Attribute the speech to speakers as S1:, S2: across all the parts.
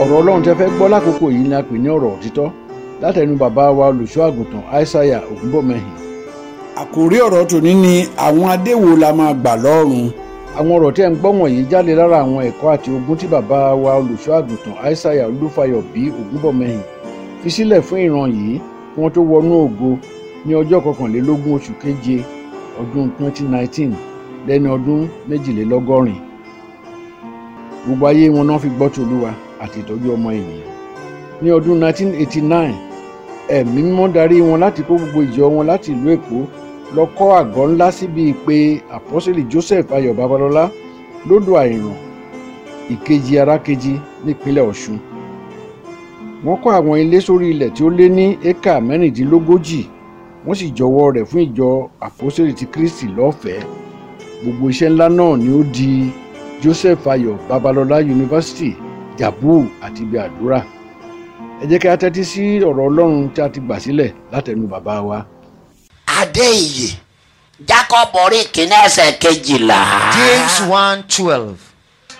S1: ọ̀rọ̀ ọlọ́run tẹ́ fẹ́ gbọ́ lákòókò yìí ni a pè ní ọ̀rọ̀ òtítọ́ látẹnu bàbá wa olùṣọ́ àgùntàn aishaiya ògúnbọ̀mẹ́hìn.
S2: àkòrí ọ̀rọ̀ tòní ni àwọn adé wo la máa gbà lọ́run.
S1: àwọn ọ̀rọ̀ tí ẹ̀ ń gbọ́ wọ̀nyí jáde lára àwọn ẹ̀kọ́ àti ogun tí bàbá wa olùṣọ́ àgùntàn aishaiya olúfayọ bí ògúnbọ̀mẹ́hìn fi sílẹ̀ fún ìran yìí kí wọ́n tó wọnú ògo ní ọjọ́ kọkànlélógún oṣù keje ọdún 2019 lẹ́ni ọdún méjìlélọ́gọ́rin gbogbo ayé wọn náà fi gbọ́ tòlúwa àti ìtọ́jú ọmọ ènìyàn ní ọdún 1989 ẹ̀mí mímọ́ darí wọn láti kó gbogbo ìjọ wọn láti ìlú èkó lọ kọ́ àgọ́ ńlá síbi ìpè àpọ́sẹ̀lì joseph ayọ̀ babalọ́lá lódò àìràn ìkejì arákejì nípínlẹ̀ ọ̀ṣun wọ́n kọ́ àwọn ilé sórí ilẹ̀ tí ó lé ní éka mẹ́rìndínlógójì wọ́n sì jọwọ́ rẹ̀ fún ìjọ àpọ́sẹ̀lì ti kristi lọ́fẹ̀ẹ́ gbogbo iṣẹ́ ńlá náà ni ó di joseph ayọ̀ babalọ́lá yunifásitì jabu àti ibi àdúrà ẹ jẹ́ kí a tẹ́tí sí ọ̀rọ̀ ọlọ́run tí a ti gbà sílẹ̀ látẹnu bàbá wa.
S3: adéyìí jákọ́bù orí kìíní ẹsẹ̀ kejìlá.
S4: James 1 12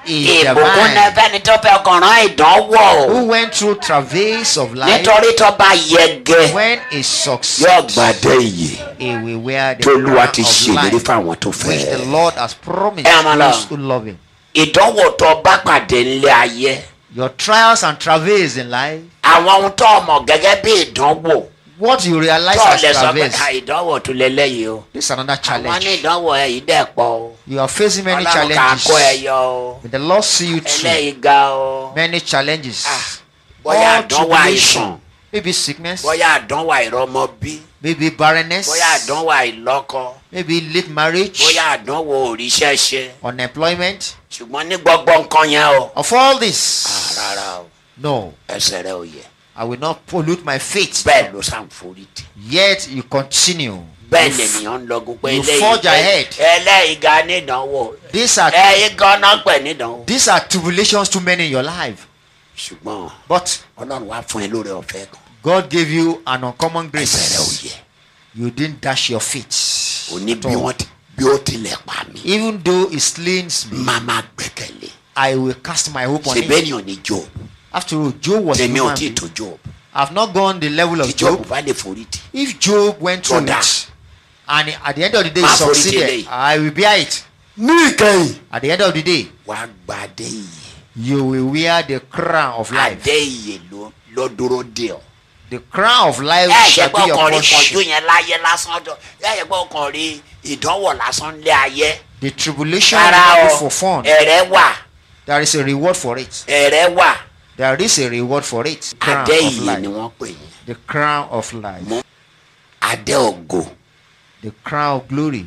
S4: is
S3: ìbùkún ní
S4: divine.
S3: fẹ́ni tó fẹ́ kọ̀ọ̀rán ìdánwò
S4: Who went through travails of life
S3: nítorí tó bá yege
S4: when he
S3: yóò
S4: succeeds,
S3: gbàdé yìí
S4: he will wear the
S3: tó olúwa ti
S4: crown
S3: ṣèlérí
S4: of life
S3: fáwọn tó
S4: which the
S3: fẹ́.
S4: Lord has promised
S3: Ẹ máa lọ.
S4: those who love him.
S3: ìdánwò tó bá pàdé nílé ayé
S4: Your trials and travails in life,
S3: àwọn ohun tó mọ̀ gẹ́gẹ́ bí ìdánwò
S4: what you realize
S3: tó lè
S4: as
S3: sọ pé
S4: travails,
S3: "Ah, ìdánwò tún lélẹ́yìí o
S4: this is another
S3: wọ́n ní
S4: challenge.
S3: ìdánwò ẹ̀ yìí dẹ̀ pọ̀ o
S4: You are facing
S3: ọlọ́run
S4: many
S3: kà á kó ẹ
S4: challenges.
S3: yọ o
S4: May the Lord see you through
S3: eléyìí ga o
S4: many challenges.
S3: Ah, bóyá
S4: All
S3: àdánwò àìsàn
S4: tribulation, maybe sickness,
S3: bóyá àdánwò àìrọ́mọbí
S4: maybe barrenness,
S3: bóyá àdánwò àìlọ́kọ
S4: maybe late marriage,
S3: bóyá àdánwò òrìṣẹ́ ṣe
S4: unemployment.
S3: ṣùgbọ́n ní gbogbo nǹkan yẹn o Ah,
S4: Of all this,
S3: rárá o
S4: no,
S3: ẹsẹ̀ rẹ ò yẹ
S4: I will not pollute my faith.
S3: bẹ́ẹ̀ ló sàǹforí tì
S4: Yet you continue.
S3: bẹ́ẹ̀ lènìyàn ń lọgun pé
S4: you forge ahead.
S3: eléyìí ga nídánwò
S4: These are
S3: ẹ̀yìn gan náà pẹ̀ nídánwò
S4: these are tribulations too many in your life.
S3: ṣùgbọ́n
S4: But
S3: ọlọ́run wá fún ẹ lórí ọ̀fẹ́ kan
S4: God gave you an uncommon
S3: ẹsẹ̀ rẹ ò
S4: grace.
S3: yẹ
S4: You didn't dash your feet.
S3: òní
S4: at
S3: bí
S4: all.
S3: wọ́n ti bí ó tilẹ̀ pa mí
S4: Even though it slings me,
S3: máa máa gbẹ̀kẹ̀lé
S4: I will cast my hope on
S3: ṣèbẹ́
S4: it.
S3: ni ò ní Job
S4: After all, Job was
S3: tèmi ò
S4: human.
S3: tí ì
S4: being.
S3: tó Job
S4: I've not gone the level
S3: tí
S4: of
S3: Job
S4: Job.
S3: bá lè forí tì
S4: If Job went through
S3: Brother.
S4: it, and at the end of the day he
S3: Má forí jì
S4: succeeded,
S3: eléyìí.
S4: I will bear it.
S2: ní ìkẹyìn
S4: At the end of the day,
S3: wàá gbàdé yìí
S4: you will wear the crown of life.
S3: adé iye ló ló dúró dé ọ.
S4: The crown of life
S3: ẹ ṣe
S4: shall
S3: pé
S4: be your
S3: ọkàn rí kọjú
S4: portion.
S3: yẹn láyé lásán jọ ẹ ṣe pé ọkàn rí ìdánwò lásán lé ayé.
S4: The tribulation will
S3: rárá
S4: not be
S3: o Eh.
S4: for fun.
S3: ẹ̀rẹ́ wà
S4: There is a reward for it.
S3: ẹ̀rẹ́ wà
S4: There is a reward for it. Crown
S3: adé
S4: of
S3: iye ni
S4: life.
S3: wọ́n pè yín
S4: The crown of life.
S3: adé ògo
S4: The crown of glory.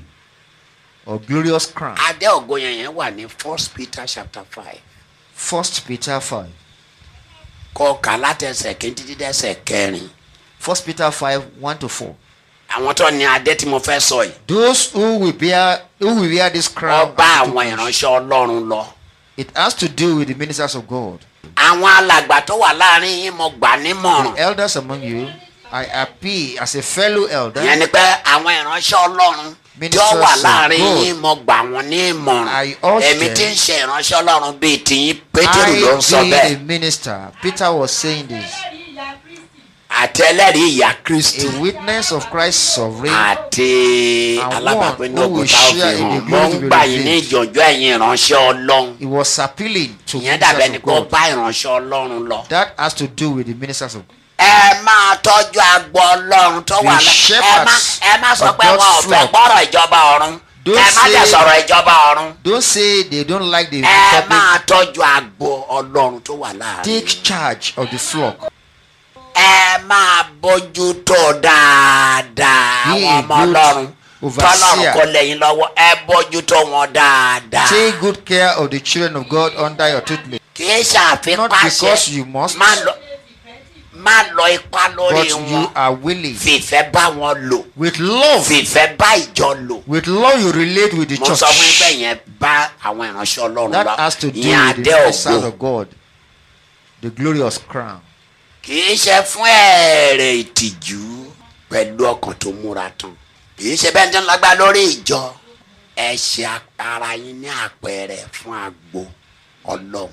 S4: Or glorious crown.
S3: adé ògo yẹn yẹn wà ní first peter chapter five
S4: First Peter 5.
S3: kọ kà látẹsẹ̀ kí n títí dẹ́sẹ̀ kẹrin
S4: First Peter 5, 1 to 4.
S3: àwọn tó ní adé tí mo fẹ́ sọ yìí
S4: Those who will bear who will wear this crown
S3: wọ́n bá
S4: are
S3: àwọn
S4: privileged.
S3: ìránṣẹ́ ọlọ́run lọ
S4: it has to do with the ministers of God.
S3: àwọn alàgbà tó wà láàrin yín mo gbà nímọ̀ràn
S4: Elders among you, I appeal as a fellow elder.
S3: ìyẹn ni pé àwọn ìránṣẹ́ ọlọ́run tí ó
S4: Ministers
S3: wà
S4: of
S3: láàrin
S4: God.
S3: yín mo gbà wọ́n ní ìmọ̀ràn
S4: I urge
S3: èmi
S4: them.
S3: tí ń ṣe ìránṣẹ́ ọlọ́run bíi tìyín pétérù ló ń sọ
S4: I be
S3: bẹ́ẹ̀
S4: a minister. Peter was saying this.
S3: àti ẹlẹ́rìí ìyá kristi
S4: A witness of Christ's sovereign.
S3: àti
S4: And
S3: alábàápín
S4: one who will
S3: ògùn tá ò fi
S4: share in
S3: hàn
S4: the
S3: mo
S4: glory
S3: ń
S4: to be
S3: gbà yín ní
S4: revealed.
S3: ìjọjọ́ ẹ̀yin ìránṣẹ́ ọlọ́run
S4: He was appealing to
S3: ìyẹn dàbẹ́
S4: ministers
S3: ni
S4: of
S3: pé ó
S4: God.
S3: bá ìránṣẹ́ ọlọ́run lọ.
S4: That has to do with the ministers of God.
S3: ẹ máa tọ́jú agbo ọlọ́run tó wà lá-
S4: The
S3: ẹ má
S4: shepherds
S3: ẹ má sọ
S4: of
S3: pé
S4: God's
S3: wọn ò fẹ́
S4: flock.
S3: gbọ́rọ̀ ìjọba ọ̀run
S4: Don't
S3: ẹ má
S4: say-
S3: dẹ̀ sọ̀rọ̀ ìjọba ọ̀run.
S4: Don't say they don't like the
S3: ẹ
S4: public.
S3: máa tọ́jú agbo ọlọ́run tó wà láàrin
S4: Take charge of the flock.
S3: ẹ máa bójú tó dáadáa àwọn
S4: Be a
S3: ọmọ
S4: good
S3: ọlọ́run tọ́lọ́run
S4: overseer.
S3: kò lẹ́yìn lọ́wọ́ ẹ bójú tó wọn dáadáa
S4: Take good care of the children of God under your tutelage.
S3: kì í ṣàfihàn
S4: Not because you must,
S3: má lọ má lọ ipa
S4: but
S3: lórí
S4: you
S3: wọn
S4: are willing.
S3: fìfẹ́ bá wọn lò
S4: With love,
S3: fìfẹ́ bá ìjọ lò
S4: with love you relate with the
S3: mo sọ fún yín pé
S4: church.
S3: yẹn bá àwọn ìránṣẹ́ ọlọ́run lọ
S4: That has to do
S3: ìyẹn
S4: with the
S3: adé
S4: presence
S3: ògo
S4: of God. The glorious crown.
S3: kì í ṣe fún ẹ̀rẹ̀ ìtìjú pẹ̀lú ọkàn tó múra tán kì í ṣe bẹ́ẹ̀ tó ń lágbá lórí ìjọ ẹ ṣe ara yín ní àpẹẹrẹ fún agbo ọlọ́run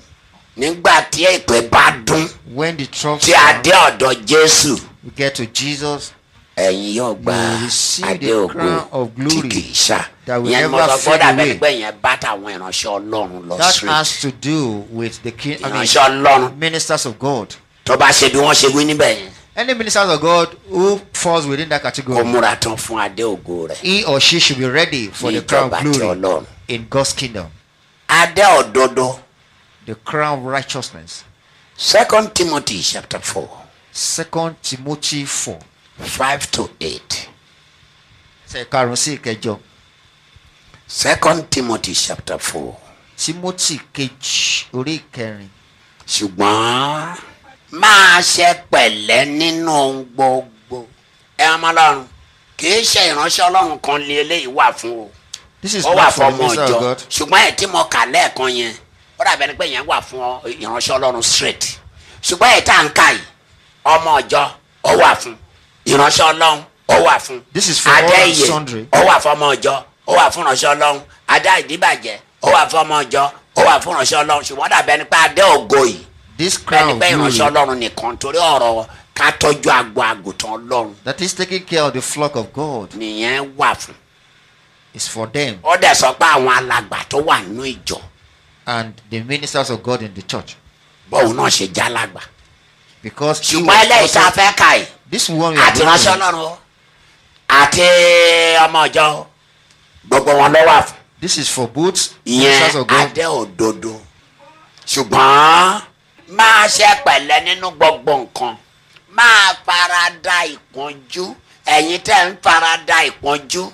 S3: nígbà tí èpè bá dún
S4: When the troughs
S3: tí a dé ọ̀dọ̀ jésù
S4: we get to Jesus,
S3: ẹ̀yin yóò gba
S4: You will receive the
S3: adé ògo
S4: crown of
S3: tí
S4: glory
S3: kì í ṣá
S4: that will
S3: ìyẹn ni mo sọ
S4: never fade
S3: fọ́dà bẹ́ẹ̀
S4: away.
S3: pé ìyẹn bá tàwọn ìránṣẹ́ ọlọ́run lọ
S4: that
S3: sí
S4: has to do with the king, I
S3: ìránṣẹ́ ọlọ́run
S4: mean, ministers of God.
S3: tó bá ṣe bí wọ́n ṣe wí níbẹ̀ yẹn
S4: Any ministers of God who falls within that
S3: kó
S4: category,
S3: múra tán fún adé ògo rẹ̀
S4: he or she should be ready for
S3: ní
S4: the crown
S3: ìjọba
S4: of
S3: tí
S4: glory
S3: ọlọ́run.
S4: in God's kingdom,
S3: adé òdodo
S4: the crown of righteousness.
S3: second timothy chapter four
S4: Second Timothy 4.
S3: five to eight
S4: Ṣe karùn-ún sí ìkẹjọ.
S3: second timothy chapter four
S4: Timothy kejì orí ìkẹrin.
S3: ṣùgbọ́n máa ṣe pẹ̀lẹ́ nínú ohun gbogbo ẹ ọmọ ọlọ́run kì í ṣe ìránṣẹ́ ọlọ́run kan ní eléyìí wà fún o
S4: This is
S3: ó wà fún
S4: not for the
S3: ọmọ
S4: minister
S3: ọjọ́
S4: of God.
S3: ṣùgbọ́n ẹ̀ tí mo kà lẹ́ẹ̀kan yẹn ó dàbẹ̀ ni pé yẹn wà fún ọ- ìránṣẹ́ ọlọ́run straight ṣùgbọ́n ẹ̀ tá à ń kà yìí ọmọ ọjọ́ ó wà fún ìránṣẹ́ ọlọ́run ó wà fún
S4: This is for all and
S3: adẹ́yẹ
S4: sundry.
S3: ó wà fún ọmọ ọjọ́ ó wà fún ìránṣẹ́ ọlọ́run adá ìdíbàjẹ́ ó wà fún ọmọ ọjọ́ ó wà fún ìránṣẹ́ ọlọ́run ṣùgbọ́n ó dàbẹ̀ ni pé adé ògo yìí
S4: This crown
S3: bẹ́ẹ̀ni
S4: of
S3: bẹ́ẹ̀ ìránṣẹ́
S4: glory
S3: ọlọ́run nìkan torí ọ̀rọ̀ ká tọ́jú agbo àgùntàn ọlọ́run
S4: that is taking care of the flock of God
S3: nìyẹn wà fún.
S4: is for them
S3: ó dẹ̀ sọ pé àwọn alàgbà tó wà nínú ìjọ
S4: and the ministers of God in the church.
S3: bóun náà ṣe já lágbà.
S4: Because he
S3: ṣùgbọ́n
S4: was
S3: eléyìí tá a
S4: also-
S3: fẹ́ kà yìí
S4: this one we are
S3: àti ránṣẹ́
S4: doing,
S3: ọlọ́run o àti ọmọ ìjọ o, gbogbo wọn ló wà fún.
S4: this is for both ministers
S3: ìyẹn
S4: of God.
S3: adé òdodo ṣùgbọ́n máa ṣe pẹ̀lẹ́ nínú gbogbo nǹkan máa farada ìpọ́njú ẹ̀yin tẹ́ ń farada ìpọ́njú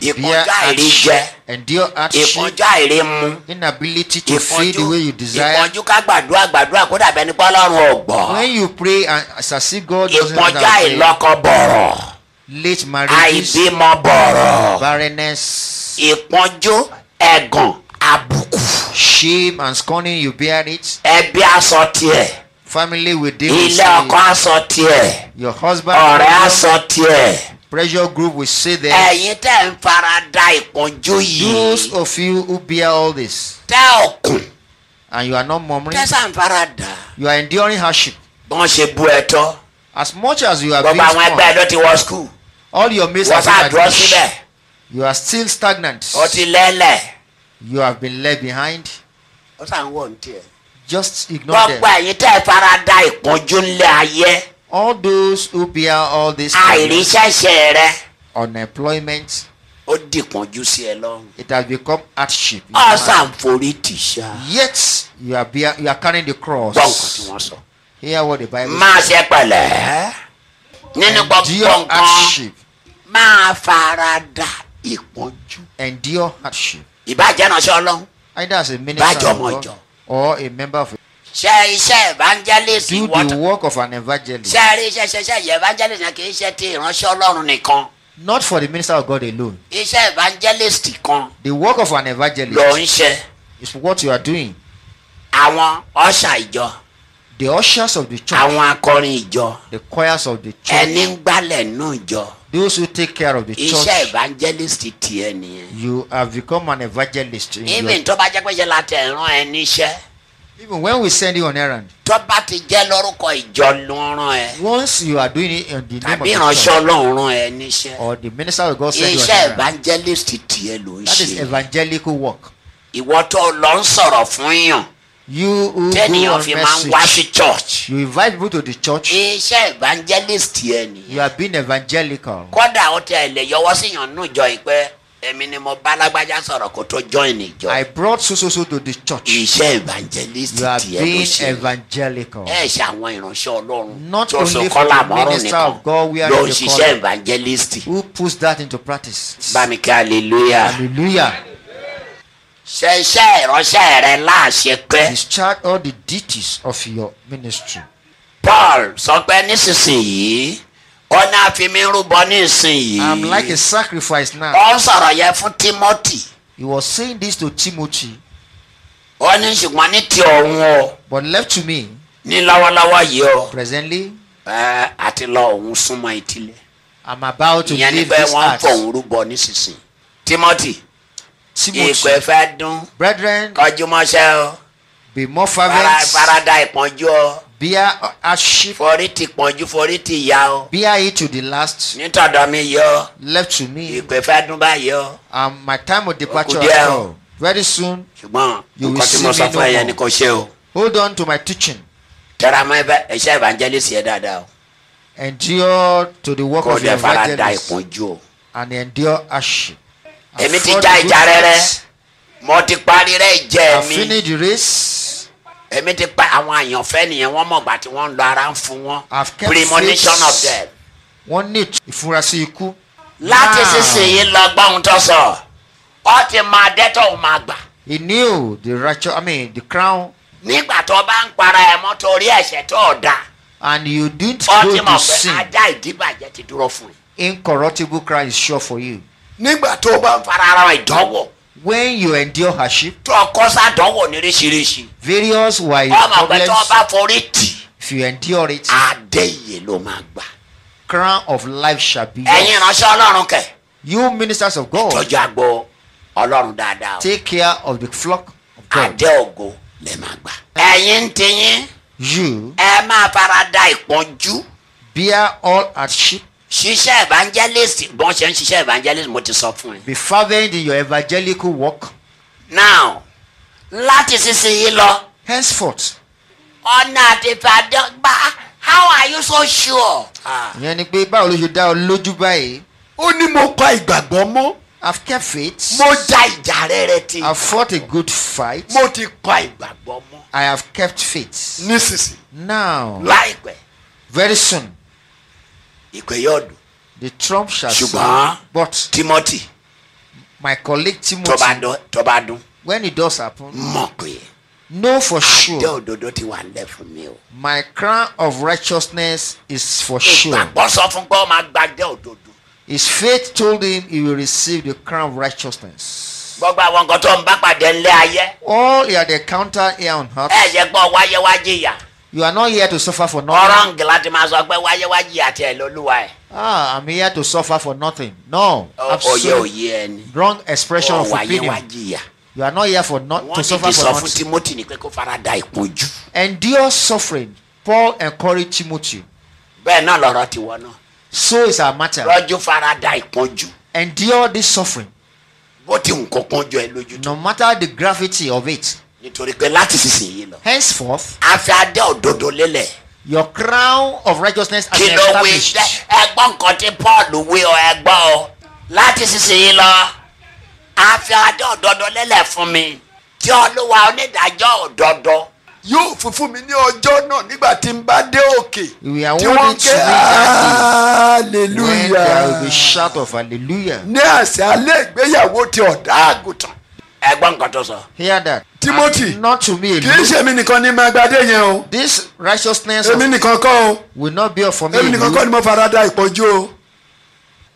S4: Bear
S3: ìpọ́njú àìríjẹ
S4: hardship, endure hardship,
S3: ìpọ́njú àìrímu
S4: inability to feel
S3: ìpọ́njú
S4: the way you desire.
S3: ìpọ́njú ká gbàdúrà gbàdúrà kó dàbẹ́ ní pọ́lọ́run ò gbọ́
S4: When you pray and as I see God doesn't
S3: ìpọ́njú
S4: answer prayer,
S3: àìlọ́kọ bọ̀rọ̀
S4: late marriages,
S3: àìbímọ bọ̀rọ̀
S4: barrenness,
S3: ìpọ́njú ẹ̀gàn àbùkù
S4: shame and scorning, you bear it.
S3: ẹbí aṣọ tiẹ̀.
S4: Family will deal with
S3: ilé ọkọ
S4: it.
S3: aṣọ tiẹ̀
S4: Your husband,
S3: ọ̀rẹ́ aṣọ tiẹ̀
S4: pressure group will say that.
S3: ẹ̀yin tẹ́ ń fara da ìpọ́njú yìí
S4: Those of you who bear all this
S3: tẹ́ ọkùn
S4: and you are not murmuring,
S3: tẹ́ sàn fara da
S4: you are enduring hardship.
S3: bọ́n ṣe bú ẹ tọ́
S4: As much as you are being
S3: gbogbo àwọn ẹgbẹ́ ẹ
S4: scorned,
S3: ló ti wọ skul
S4: all your mates
S3: wọ́n
S4: are
S3: sá dúró síbẹ̀
S4: stagnant. You are still stagnant.
S3: ó ti lẹ́lẹ̀
S4: You have been left behind.
S3: ó sàn wọ̀ ní tiẹ̀.
S4: Just ignore
S3: gbogbo
S4: them.
S3: ẹ̀yin tẹ́ fara da ìpọ́njú ńlẹ̀ ayé
S4: All those who bear all this problems,
S3: àìríṣẹ́ṣẹ́ rẹ
S4: unemployment,
S3: ó di ìpọ́njú sí ẹ lọ́rùn
S4: it has become hardship. in
S3: ó
S4: your
S3: sàn
S4: hand.
S3: forí tì ṣá
S4: Yet you are bear, you are carrying the
S3: gbọ́ nǹkan tí
S4: cross.
S3: wọ́n sọ.
S4: Hear what the Bible
S3: máa ṣe pẹ̀lẹ́ nínú gbogbo
S4: Endure
S3: nǹkan
S4: hardship.
S3: máa farada ìpọ́njú.
S4: Endure hardship.
S3: ìbàjẹ́ ránṣẹ́ ọlọ́run
S4: Either as a minister
S3: Bájọ̀mọ́ ìjọ.
S4: of God or a member of
S3: ṣe iṣẹ́ evangelist
S4: do the
S3: wọ́tọ̀
S4: work of an evangelist.
S3: ṣe rí iṣẹ́ ṣe ṣe yẹ evangelist náà kì í ṣe ti ìránṣẹ́ ọlọ́run nìkan
S4: Not for the minister of God alone.
S3: iṣẹ́ evangelist kan
S4: The work of an
S3: ló
S4: evangelist
S3: ń ṣe
S4: is what you are doing.
S3: àwọn ọ̀ṣà ìjọ
S4: The ushers of the church,
S3: àwọn akọrin ìjọ
S4: the choirs of the
S3: ẹni
S4: church,
S3: ń gbálẹ̀ nù ìjọ
S4: those who take care of the
S3: iṣẹ́
S4: church,
S3: evangelist tiẹ̀ nìyẹn
S4: you have become an evangelist. In your,
S3: even tó bá jẹ́ pé ṣe la tẹ̀ rán ẹ níṣẹ́
S4: even when we send you on errand,
S3: tó bá ti jẹ́ lórúkọ ìjọ ló ń rán ẹ
S4: once you are doing it in the name of
S3: tàbí
S4: the
S3: ìránṣẹ́
S4: church,
S3: ọlọ́run rán ẹ níṣẹ́
S4: or the minister of God send you on
S3: iṣẹ́
S4: errand,
S3: evangelist tiẹ̀ ló ń
S4: that is
S3: ṣe
S4: evangelical work.
S3: ìwọ tó lọ ń sọ̀rọ̀ fún yàn
S4: You who go
S3: tẹ́niyàn
S4: on
S3: fi máa ń wá sí
S4: message,
S3: church
S4: you invite people to the church,
S3: iṣẹ́ evangelist tiẹ̀
S4: you
S3: nìyẹn
S4: are being evangelical.
S3: kódà ó tẹ ẹ̀ lè yọwọ́ sí yàn nù jọ ìpẹ́ èmi ni mo bá lágbájá sọ̀rọ̀ kó tó join ìjọ
S4: I brought so so so to the church.
S3: iṣẹ́ evangelist
S4: You are
S3: tiẹ̀ ló
S4: being
S3: ṣe
S4: evangelical.
S3: ẹ ṣe àwọn ìránṣẹ́ ọlọ́run
S4: Not
S3: tó so
S4: only for
S3: kọ́là
S4: the
S3: mọ́rùn
S4: minister
S3: nìkan
S4: of God, we are
S3: ló
S4: in
S3: ń
S4: the
S3: ṣiṣẹ́
S4: calling.
S3: evangelist
S4: Who puts that into practice?
S3: bámi kí hallelujah
S4: Hallelujah.
S3: ṣe iṣẹ́ ìránṣẹ́ rẹ láàṣẹ pẹ́
S4: Discharge all the duties of your ministry.
S3: paul sọ pé nísinsìnyí ó ní àfimírúbọ nísinsìnyí
S4: I'm like a sacrifice now.
S3: ó ń sọ̀rọ̀ yẹn fún timothy
S4: He was saying this to Timothy,
S3: ó ní ṣùgbọ́n ní ti òun o
S4: but left to me
S3: ní lọ́wọ́lọ́wọ́ yìí o
S4: presently,
S3: ẹ, àti lọ òun súnmọ́ etílé
S4: I'm about to
S3: ìyẹn ni
S4: leave
S3: pé
S4: this
S3: wọ́n ń fọ
S4: earth.
S3: òun rúbọ nísinsìnyí timothy ìpè
S4: Timothy,
S3: fẹ́ dún
S4: brethren,
S3: kọjú mọ́ṣẹ́ o
S4: Be more
S3: fara
S4: fervent.
S3: farada ìpọ́njú ọ
S4: Bear hardship.
S3: forí ti pọ́njú forí ti yá ọ
S4: Bear it to the last.
S3: nítọ̀dọ̀ mi yọ
S4: Left to me.
S3: ìpè fẹ́ dún bá yọ
S4: And my time of departure
S3: Okudia.
S4: has come. Very soon,
S3: ṣùgbọ́n
S4: You will
S3: nǹkan tí
S4: see
S3: mo sọ
S4: me
S3: fún
S4: no
S3: ẹ̀yẹ
S4: more.
S3: ni kò ṣe o
S4: hold on to my teaching.
S3: tẹ́ra mọ́ ẹbẹ- iṣẹ́ evangelist yẹ dáadáa o
S4: Endure to the work
S3: kò
S4: of
S3: dẹ̀
S4: your
S3: farada
S4: evangelist.
S3: ìpọ́njú o
S4: And endure hardship. I
S3: Èmi ti
S4: fought
S3: já
S4: the good
S3: ìjà rere.
S4: fight.
S3: mo ti parí rẹ̀
S4: I
S3: jẹ́ mi
S4: finished the race.
S3: èmi ti pa àwọn àyànfẹ́ nìyẹn wọ́n mọ̀gbà tí wọ́n ń lọ ara ń fún wọn
S4: I've kept
S3: premonition
S4: faith.
S3: of them
S4: wọ́n ní ìtú- ìfurasí ikú.
S3: láti
S4: Now,
S3: sísìnyí lọ gbọ́hun tó sọ ọ ti máa dẹ́tọ̀ máa gbà.
S4: He knew the righteous, I mean, the crown,
S3: nígbà tó bá ń para ẹ̀ mọ́ torí ẹ̀ṣẹ̀ tó o da
S4: and you didn't go
S3: ọtí
S4: to
S3: mọ̀ pé
S4: sin.
S3: ajá ìdíbàjẹ́ ti dúró fún ẹ.
S4: Incorruptible crown is sure for you.
S3: nígbà tó o bá ń fara ara ìdánwò
S4: When you endure hardship,
S3: tó o kọ́ sádánwò níríṣiríṣi
S4: various were your
S3: ọmọ pé tó o
S4: problems.
S3: bá forí tì
S4: If you endure it,
S3: adé iye ló máa gbà.
S4: crown of life shall be
S3: ẹ̀yin
S4: yours.
S3: ìránṣẹ́ ọlọ́run kẹ̀
S4: You ministers of God,
S3: tọ́jú agbo ọlọ́run dáadáa o
S4: take care of the flock of God.
S3: adé ògo lè máa gbà. ẹ̀yin ń tiyín
S4: You
S3: ẹ máa fara da ìpọ́njú
S4: bear all hardship.
S3: ṣiṣẹ́ evangelist bọ́n ṣe ń ṣiṣẹ́ evangelist mo ti sọ fún yín.
S4: Be fervent in your evangelical work.
S3: now láti sísìnyí lọ.
S4: Henceforth,
S3: ọ̀nà àtìfàdán gbà how are you so sure.
S4: ìyẹn ni pé báwo ló ṣe dá ọ lójú báyìí?
S3: ó ní mo kọ ìgbàgbọ́ mọ́.
S4: I've kept faith.
S3: mo ja ìjà rere ti.
S4: I fought a good fight.
S3: mo ti kọ ìgbàgbọ́ mọ́.
S4: I have kept faith.
S3: nísinsìnyí.
S4: Now,
S3: láìpẹ́
S4: very soon,
S3: ìpè yóò dùn.
S4: the trump shall
S3: Ṣùgbọ́n-
S4: sound. But
S3: timothy
S4: my colleague
S3: tó bá
S4: Timothy,
S3: dún tó bá dún
S4: when it does happen,
S3: mọ̀ pé
S4: know for
S3: àjọ
S4: sure
S3: òdodo ti wà nílẹ̀ fún mi o.
S4: my crown of righteousness is for sure.
S3: ìgbàgbọ́ sọ fún pé ó máa gbàjẹ́ òdodo.
S4: His faith told him he will receive the crown of righteousness.
S3: gbogbo àwọn nǹkan tó ń bá pàdé ńlẹ̀ ayé.
S4: All he had encountered here on earth,
S3: ẹ jẹ́ gbọ́ wáyé wá jìyà.
S4: you are not here to suffer for
S3: ọ̀rọ̀
S4: nothing.
S3: ń gìlá ti máa sọ pé wáyé wá jìyà tiẹ̀ lólúwa ẹ̀.
S4: Ah, I'm here to suffer for nothing. No,
S3: òye
S4: absolutely
S3: òye ẹni.
S4: wrong expression of
S3: wáyé wá
S4: opinion.
S3: jìyà.
S4: You are not here for not to
S3: wọ́n
S4: suffer
S3: ti
S4: for
S3: sọ fún
S4: nothing.
S3: timothy ni pé kó fara da ìpọ́njú.
S4: Endure suffering. Paul encouraged Timothy.
S3: bẹ́ẹ̀ náà lọ́rọ̀ ti wọ́n náà.
S4: So is our matter.
S3: rọ́jú fara da ìpọ́njú.
S4: Endure this suffering,
S3: bó ti nǹkan kan jọ ẹ lójú tó.
S4: no matter the gravity of it.
S3: nítorí pé láti sísìnyí lọ.
S4: Henceforth,
S3: a fi adé òdodo lélẹ̀.
S4: your crown of righteousness has
S3: kí
S4: been
S3: ló wí
S4: established.
S3: dẹ́ ẹgbọ́n nǹkan tí paul wí ọ ẹgbọ́n o. láti sísìnyí lọ. a fi adé òdodo lélẹ̀ fún mi. tí olúwa onídàájọ́ òdodo.
S5: yóò fún fún mi ní ọjọ́ náà nígbà tí n bá dé òkè
S4: We are
S5: tí wọ́n
S4: holding to
S5: ké
S4: me that
S3: "Ah,
S4: day when there will be
S5: hallelujah
S4: shout of hallelujah.
S5: ní àṣẹ alẹ́ ìgbéyàwó ti ọ̀dà àgùntàn
S3: ẹgbọ́n nǹkan tó sọ.
S4: Hear that.
S5: Timothy.
S4: And not to me
S5: kì í
S4: alone.
S5: ṣe èmi nìkan ní máa gbadé yẹn o
S4: This righteousness
S5: èmi
S4: of,
S5: nìkan kọ́ o
S4: will not be of for me
S5: èmi nìkan kọ́
S4: alone.
S5: ni mo fara da ìpọ́njú o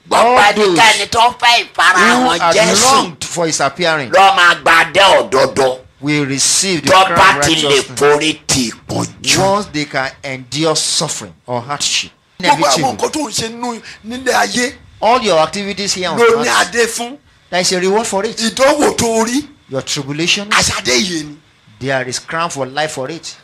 S3: gbọ́n
S4: All
S3: pẹ́ nìkẹ́ni tó ń fẹ́ ìfara
S4: Who
S3: wọn
S4: has
S3: jésù.
S4: longed for his appearing
S3: lọ́ máa gba adé òdodo.
S4: will receive the crown
S3: tọ́ba
S4: of
S3: ti lè
S4: righteousness.
S3: forí ti ìpọ́njú.
S4: once they can endure suffering or hardship.
S5: gbogbo àwọn
S4: Inevitable.
S5: nǹkan tó ń ṣe nínú nílé ayé
S4: All your activities here on
S5: ló ní
S4: earth,
S5: adé fún
S4: there is a reward for it.
S5: ìdánwò tó rí
S4: Your tribulation,
S3: Ah.
S5: àṣàdé yìí ni
S4: there is crown for life for it.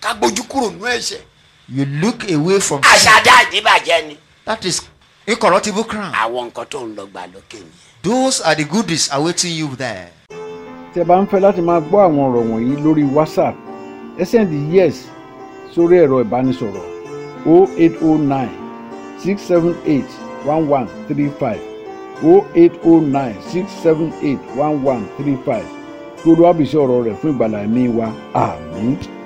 S5: ká gbójú kúrò nínú ẹ̀ṣẹ̀
S4: You look away from
S3: Ah,
S4: sin.
S3: àṣàdá àdìbàjẹ́ ni.
S4: that is incorruptible crown.
S3: àwọn nǹkan tó ń lọ gbà lókè ni.
S4: Those are the goodies awaiting you there.
S1: tẹ́ bá ń fẹ́ láti máa gbọ́ àwọn ọ̀rọ̀ wọ̀nyí lórí whatsapp ẹ send yes sórí ẹ̀rọ ìbánisọ̀rọ̀ 0809 678 1135 0809 678 1135 kí olúwàbísí ọ̀rọ̀ rẹ̀ fún ìgbàlá ẹ̀mí wa àmín.